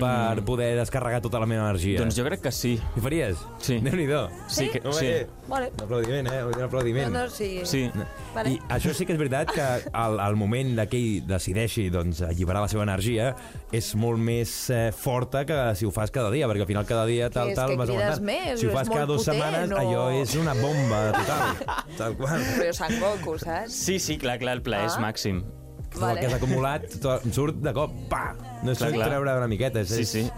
Speaker 3: per poder descarregar tota la meva energia.
Speaker 5: Mm. Doncs jo crec que sí.
Speaker 3: Ho faries?
Speaker 5: Sí.
Speaker 3: Déu-n'hi-do.
Speaker 5: Sí que-
Speaker 3: Home,
Speaker 5: sí.
Speaker 3: eh,
Speaker 4: Vale.
Speaker 3: Un aplaudiment, eh? Un aplaudiment.
Speaker 4: No, no, sí.
Speaker 5: Sí.
Speaker 4: Vale.
Speaker 3: I això sí que és veritat que al, al moment de que ell decideixi doncs, alliberar la seva energia és molt més eh, forta que si ho fas cada dia, perquè al final cada dia tal,
Speaker 4: Que és
Speaker 3: tal
Speaker 4: que
Speaker 3: vas
Speaker 4: crides
Speaker 3: aguantant.
Speaker 4: més,
Speaker 3: si ho
Speaker 4: és
Speaker 3: fas
Speaker 4: molt
Speaker 3: cada dues
Speaker 4: potent,
Speaker 3: setmanes,
Speaker 4: o-
Speaker 3: allò és una bomba total. tal qual.
Speaker 4: Però Sant Goku, saps?
Speaker 5: Sí, sí, clar, clar, el plaer és
Speaker 4: Ah.
Speaker 5: màxim.
Speaker 3: Tot el que has acumulat tot, surt de cop, pa! No és
Speaker 5: Clar,
Speaker 3: clar,
Speaker 5: clar.
Speaker 3: treure una miqueta. És,
Speaker 5: Sí, sí.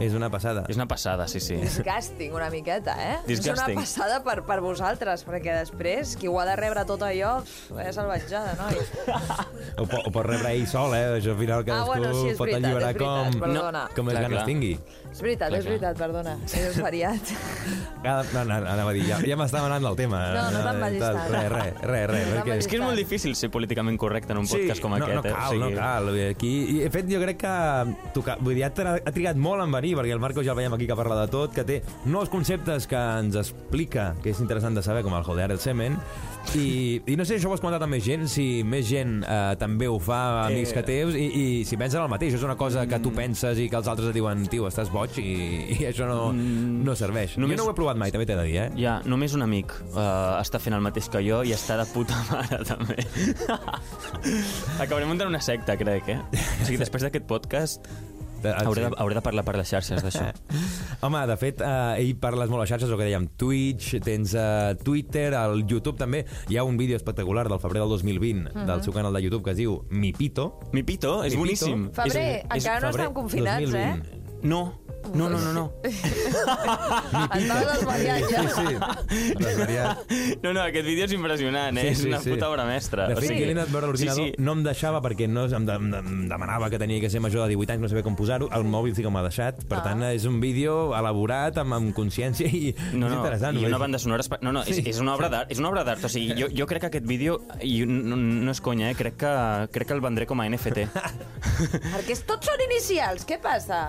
Speaker 3: És una passada.
Speaker 5: És una passada, sí, sí.
Speaker 4: Disgusting, una miqueta, eh? És
Speaker 5: Disgusting.
Speaker 4: una passada per, per vosaltres, perquè després, qui ho ha de rebre tot allò, pf, és salvatjada, no?
Speaker 3: O, po- o pot rebre ell sol, eh? Això al final
Speaker 4: Ah,
Speaker 3: cadascú
Speaker 4: bueno, sí, és
Speaker 3: pot
Speaker 4: veritat,
Speaker 3: alliberar
Speaker 4: és veritat,
Speaker 3: com,
Speaker 4: perdona.
Speaker 3: com més
Speaker 5: Clar,
Speaker 3: ganes
Speaker 5: clar.
Speaker 3: tingui.
Speaker 4: És veritat,
Speaker 5: Clar,
Speaker 4: és
Speaker 5: clar.
Speaker 4: veritat, perdona. És variat.
Speaker 3: Cada... No, no, anava a dir, ja, ja m'estava anant del tema. eh,
Speaker 4: No, no te'n vagis
Speaker 3: Tal,
Speaker 4: tant.
Speaker 3: Res, res, res. res
Speaker 4: No te'n
Speaker 3: perquè-
Speaker 5: És que és molt difícil ser políticament correcte en un podcast com
Speaker 3: no,
Speaker 5: aquest,
Speaker 3: no cal,
Speaker 5: eh?
Speaker 3: no cal. Vull dir, Aquí, i, de fet, jo crec que toca, vull dir, ha, tra- ha trigat molt en venir, perquè el Marco ja el veiem aquí que parla de tot, que té nous conceptes que ens explica, que és interessant de saber, com el joder, el semen, i, i no sé si això ho has comentat amb més gent, si més gent eh, també ho fa, amics
Speaker 5: Eh. Mm.
Speaker 3: que teus, i, i si pensen el mateix, és una cosa que tu penses i que els altres et diuen, tio, estàs boig, i, i això no, no serveix.
Speaker 5: Mm. Només-
Speaker 3: Jo no ho he provat mai, també t'he de dir, eh?
Speaker 5: Ja, només un amic uh, està fent el mateix que jo i està de puta mare, també. Acabarem muntant una secta, crec, eh? O sigui, després d'aquest podcast hauré de, hauré de parlar per les xarxes d'això.
Speaker 3: ah, Home, de fet, eh, ell parles molt a xarxes, el que dèiem, Twitch, tens eh, Twitter, al YouTube també. Hi ha un vídeo espectacular del febrer del 2020
Speaker 4: Mhm.
Speaker 3: del seu canal de YouTube que es diu Mi Pito.
Speaker 5: Mi pito, Oh,
Speaker 3: Mi
Speaker 5: és
Speaker 3: pito.
Speaker 5: boníssim.
Speaker 4: Febrer,
Speaker 5: és, és,
Speaker 4: encara no estem confinats, eh?
Speaker 5: No, no, no, no, no.
Speaker 4: Et vas desvariant ja.
Speaker 3: Sí, sí. Desvariat.
Speaker 5: No, no, aquest vídeo és impressionant, eh?
Speaker 3: Sí,
Speaker 5: és
Speaker 3: sí,
Speaker 5: una
Speaker 3: sí.
Speaker 5: puta obra mestra.
Speaker 3: De fet,
Speaker 5: o
Speaker 3: sí.
Speaker 5: sigui,
Speaker 3: jo l'he anat a veure a l'ordinador,
Speaker 5: Sí,
Speaker 3: sí, sí. no em deixava perquè no, em, de, em, de- em demanava que tenia que ser major de 18 anys, no sabia com posar-ho, el mòbil sí que m'ha deixat, per ah. tant, és un vídeo elaborat, amb, amb consciència i
Speaker 5: sí. No,
Speaker 3: és
Speaker 5: no,
Speaker 3: interessant.
Speaker 5: i
Speaker 3: vull
Speaker 5: una
Speaker 3: dir.
Speaker 5: banda sonora... espa- No, no, és,
Speaker 3: Sí.
Speaker 5: és una obra d'art, és una obra d'art. O sigui, jo, jo crec que aquest vídeo, i no, no és conya, eh? crec, que, crec que el vendré com a NFT.
Speaker 4: Perquè tots són inicials, què passa?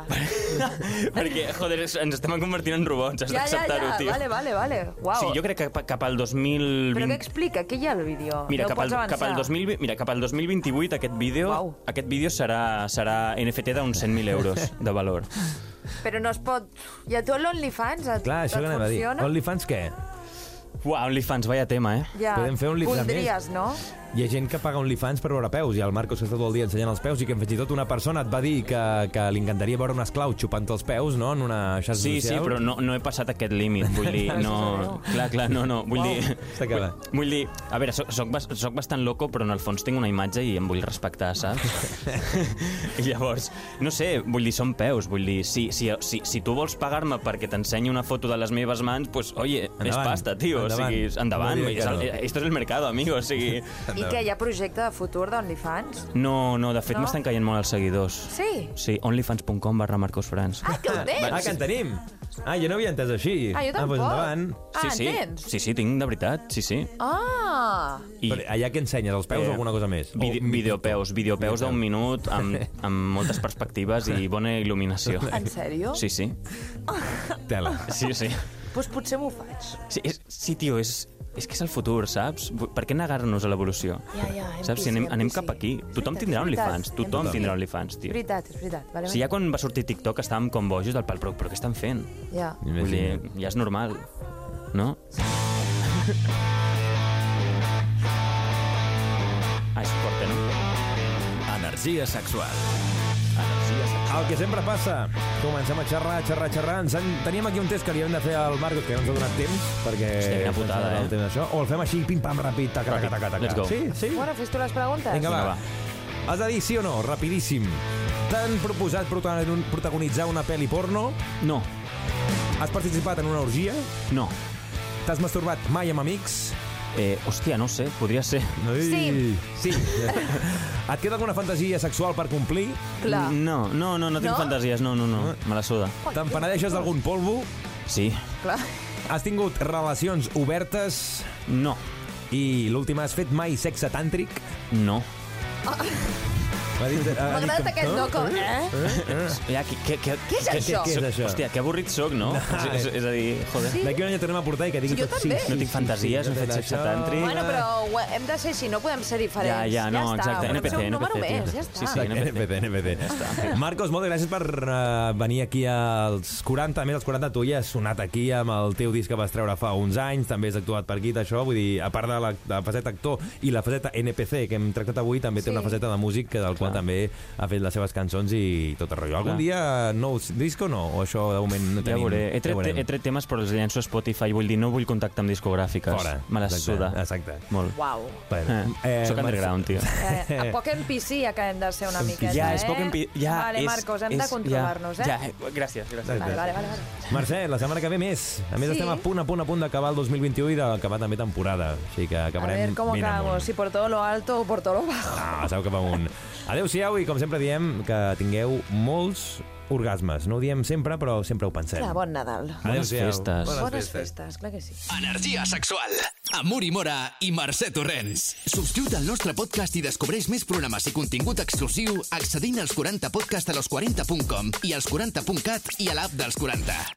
Speaker 5: Perquè, joder, ens estem convertint en robots, has
Speaker 4: Ja, ja,
Speaker 5: d'acceptar-ho,
Speaker 4: ja,
Speaker 5: tio.
Speaker 4: vale, vale, vale. Uau.
Speaker 5: Sí, jo crec que pa- cap al
Speaker 4: Però què
Speaker 5: 2020...
Speaker 4: explica? Què hi ha al vídeo?
Speaker 5: Mira,
Speaker 4: no
Speaker 5: cap al,
Speaker 4: pots avançar.
Speaker 5: cap al 2000, mira, cap al 2028 aquest vídeo,
Speaker 4: Uau.
Speaker 5: aquest vídeo serà, serà NFT d'uns 100.000 euros de valor.
Speaker 4: Però no es pot... I a tu l'OnlyFans et,
Speaker 3: Clar, això
Speaker 4: et
Speaker 3: que anava a dir.
Speaker 4: funciona?
Speaker 3: OnlyFans què?
Speaker 5: Uau, OnlyFans, vaya tema, eh?
Speaker 4: Ja.
Speaker 3: Podem fer OnlyFans més.
Speaker 4: Voldries, no?
Speaker 3: Hi ha gent que paga OnlyFans per veure peus, i el Marcos que està tot el dia ensenyant els peus, i que fins i tot una persona et va dir que, que li encantaria veure un esclau xupant els peus, no?, en una xarxa
Speaker 5: Sí, sí,
Speaker 3: social.
Speaker 5: però no, no he passat aquest límit, vull dir, no... Clar, clar, no, no, vull dir...
Speaker 3: S'ha acabat.
Speaker 5: Vull, vull dir, a veure, soc, soc, bas- soc bastant loco, però en el fons tinc una imatge i em vull respectar, saps? I llavors, no sé, vull dir, són peus, vull dir, si, si, si, si tu vols pagar-me perquè t'ensenyi una foto de les meves mans, pues, oye,
Speaker 3: Endavant.
Speaker 5: és pasta, tio,
Speaker 3: Endavant.
Speaker 5: o sigui, és- endavant,
Speaker 3: No
Speaker 5: no
Speaker 3: diré
Speaker 5: és
Speaker 3: que
Speaker 5: el, eh,
Speaker 3: no.
Speaker 5: esto es el mercado, amigo, o sigui...
Speaker 4: I què, hi ha projecte de futur d'OnlyFans?
Speaker 5: No, no, de fet
Speaker 4: No?
Speaker 5: no? m'estan caient molt els seguidors.
Speaker 4: Sí?
Speaker 5: Sí, onlyfans.com barra marcosfrans.
Speaker 4: Ah, que ho tens!
Speaker 3: Ah, que en tenim! Ah, jo no havia entès així.
Speaker 4: Ah, jo
Speaker 3: Ah,
Speaker 4: tampoc.
Speaker 3: doncs endavant.
Speaker 4: Ah,
Speaker 5: sí,
Speaker 4: en
Speaker 5: sí,
Speaker 4: tens?
Speaker 5: sí, sí, tinc, de veritat, sí, sí.
Speaker 4: Ah!
Speaker 5: I,
Speaker 3: Però allà que ensenyes, els peus
Speaker 5: Eh,
Speaker 3: o alguna cosa més?
Speaker 5: Vide
Speaker 3: O-
Speaker 5: videopeus, videopeus d'un minut amb, amb moltes perspectives i bona il·luminació.
Speaker 4: En sèrio?
Speaker 5: Sí, sí.
Speaker 3: Tela.
Speaker 5: Sí, sí.
Speaker 4: Doncs pues potser m'ho faig.
Speaker 5: Sí, és, sí tio, és, és que és el futur, saps? Vu- Per què negar-nos a l'evolució?
Speaker 4: Ja, ja, hem
Speaker 5: Saps?
Speaker 4: vist,
Speaker 5: Si anem,
Speaker 4: hem
Speaker 5: anem
Speaker 4: vist,
Speaker 5: cap
Speaker 4: sí.
Speaker 5: aquí.
Speaker 4: És veritat,
Speaker 5: Tothom tindrà
Speaker 4: és veritat.
Speaker 5: OnlyFans,
Speaker 4: Hem
Speaker 5: tothom
Speaker 4: vist.
Speaker 5: tindrà OnlyFans,
Speaker 4: És
Speaker 5: tio.
Speaker 4: veritat, és veritat. Vale,
Speaker 5: Si ja quan va sortir TikTok estàvem com bojos del pal, però, però què estan fent?
Speaker 4: ja.
Speaker 5: Vull dir, ja és normal, no? Ah, és fort, no?
Speaker 2: Energia sexual.
Speaker 5: Energia sexual.
Speaker 3: El que sempre passa, comencem a xerrar, a xerrar, a xerrar. Ens en... Teníem aquí un test que li hem de fer al Marcos, que no ens ha donat temps, perquè...
Speaker 5: Hòstia, quina putada,
Speaker 3: ens ha donat
Speaker 5: eh?
Speaker 3: Temps, això. O el fem així, pim-pam, ràpid, taca, taca, taca, taca.
Speaker 5: Let's go.
Speaker 3: Sí, sí.
Speaker 4: Bueno, fes tu les preguntes.
Speaker 3: Vinga,
Speaker 5: Vinga,
Speaker 3: va. Has de dir sí o no, rapidíssim. T'han proposat protagon- protagonitzar una pel·li porno,
Speaker 5: Ah, No,
Speaker 3: has participat en una orgia,
Speaker 5: no.
Speaker 3: t'has masturbat mai amb amics...
Speaker 5: Eh, hòstia, no ho sé, podria ser.
Speaker 4: Sí.
Speaker 3: Sí. Et queda alguna fantasia sexual per complir?
Speaker 4: Clar.
Speaker 5: No, no, no, no tinc
Speaker 4: No?
Speaker 5: fantasies, no, no, no. Me la suda.
Speaker 3: Te'n penedeixes d'algun polvo?
Speaker 5: Sí.
Speaker 4: Clar.
Speaker 3: Has tingut relacions obertes?
Speaker 5: No.
Speaker 3: I l'última, has fet mai sexe tàntric?
Speaker 5: No.
Speaker 3: M'ha dit...
Speaker 4: M'ha agradat aquest no com... Eh?
Speaker 5: Ja, què, què, què,
Speaker 4: Què és això?
Speaker 3: Què és això?
Speaker 5: Hòstia, que avorrit sóc, no? És, és, és a dir, joder,
Speaker 4: Sí.
Speaker 3: D'aquí un any tornem a portar i que digui
Speaker 4: Jo
Speaker 3: tot
Speaker 4: també.
Speaker 3: sí,
Speaker 5: no tinc fantasies, no he fet sexe tàntric...
Speaker 4: Bueno, però ho hem de ser així, no podem ser diferents.
Speaker 5: Ja, ja, no,
Speaker 4: ja està,
Speaker 5: exacte.
Speaker 4: volem
Speaker 5: NPC,
Speaker 4: ser un número
Speaker 5: NPC,
Speaker 4: més,
Speaker 5: tio.
Speaker 4: ja està.
Speaker 5: Sí, sí.
Speaker 3: NPC, NPC. Marcos, moltes gràcies per eh, venir aquí als 40. A més, als 40 tu ja has sonat aquí amb el teu disc que vas treure fa uns anys, també has actuat per aquí, això, vull dir, a part de la, de la faceta actor i la faceta NPC que hem tractat avui, també sí. té
Speaker 4: Sí.
Speaker 3: una faceta de músic que del qual també ha fet les seves cançons i tot el rotllo. Algun
Speaker 5: Clar.
Speaker 3: dia nou disc o no? O això de moment no
Speaker 5: Ja
Speaker 3: tenim?
Speaker 5: veuré. He tret,
Speaker 3: veurem.
Speaker 5: he tret temes, però els llenço a Spotify. Vull dir, no vull contacte amb discogràfiques.
Speaker 3: Fora.
Speaker 5: Me les
Speaker 3: Exacte,
Speaker 5: suda.
Speaker 3: exacte.
Speaker 5: Molt.
Speaker 4: Uau.
Speaker 5: Eh,
Speaker 3: Bueno,
Speaker 5: Soc
Speaker 3: Marc-
Speaker 5: underground, tio.
Speaker 4: Eh, a poc en PC acabem de ser una miqueta,
Speaker 5: Ja,
Speaker 4: eh?
Speaker 5: és poc empi... Ja,
Speaker 4: vale,
Speaker 5: és,
Speaker 4: Marcos, hem
Speaker 5: és,
Speaker 4: de controlar-nos, eh?
Speaker 5: ja, Ja, gràcies, gràcies.
Speaker 4: Vale, vale, vale. vale.
Speaker 3: Mercè, la setmana que ve més. A més,
Speaker 4: Sí.
Speaker 3: sí. estem a punt, a punt, a punt d'acabar el 2021 i d'acabar també temporada. Així que
Speaker 4: A
Speaker 3: acabarem
Speaker 4: ver cómo
Speaker 3: ben amunt.
Speaker 4: acabamos, si por todo lo alto o por todo lo bajo.
Speaker 3: Ah, sabeu cap amunt. Adéu-siau i, com sempre, diem que tingueu molts orgasmes. No ho diem sempre, però sempre ho pensem.
Speaker 4: Clar, bon Nadal.
Speaker 3: Adéu-siau.
Speaker 5: Bones festes.
Speaker 4: Bones, festes, clar que sí.
Speaker 1: Energia sexual. Amb Uri Mora i Mercè Torrents. Subscriu't al nostre podcast i descobreix més programes i contingut exclusiu accedint als 40podcastalos40.com i als 40.cat i a l'app dels 40.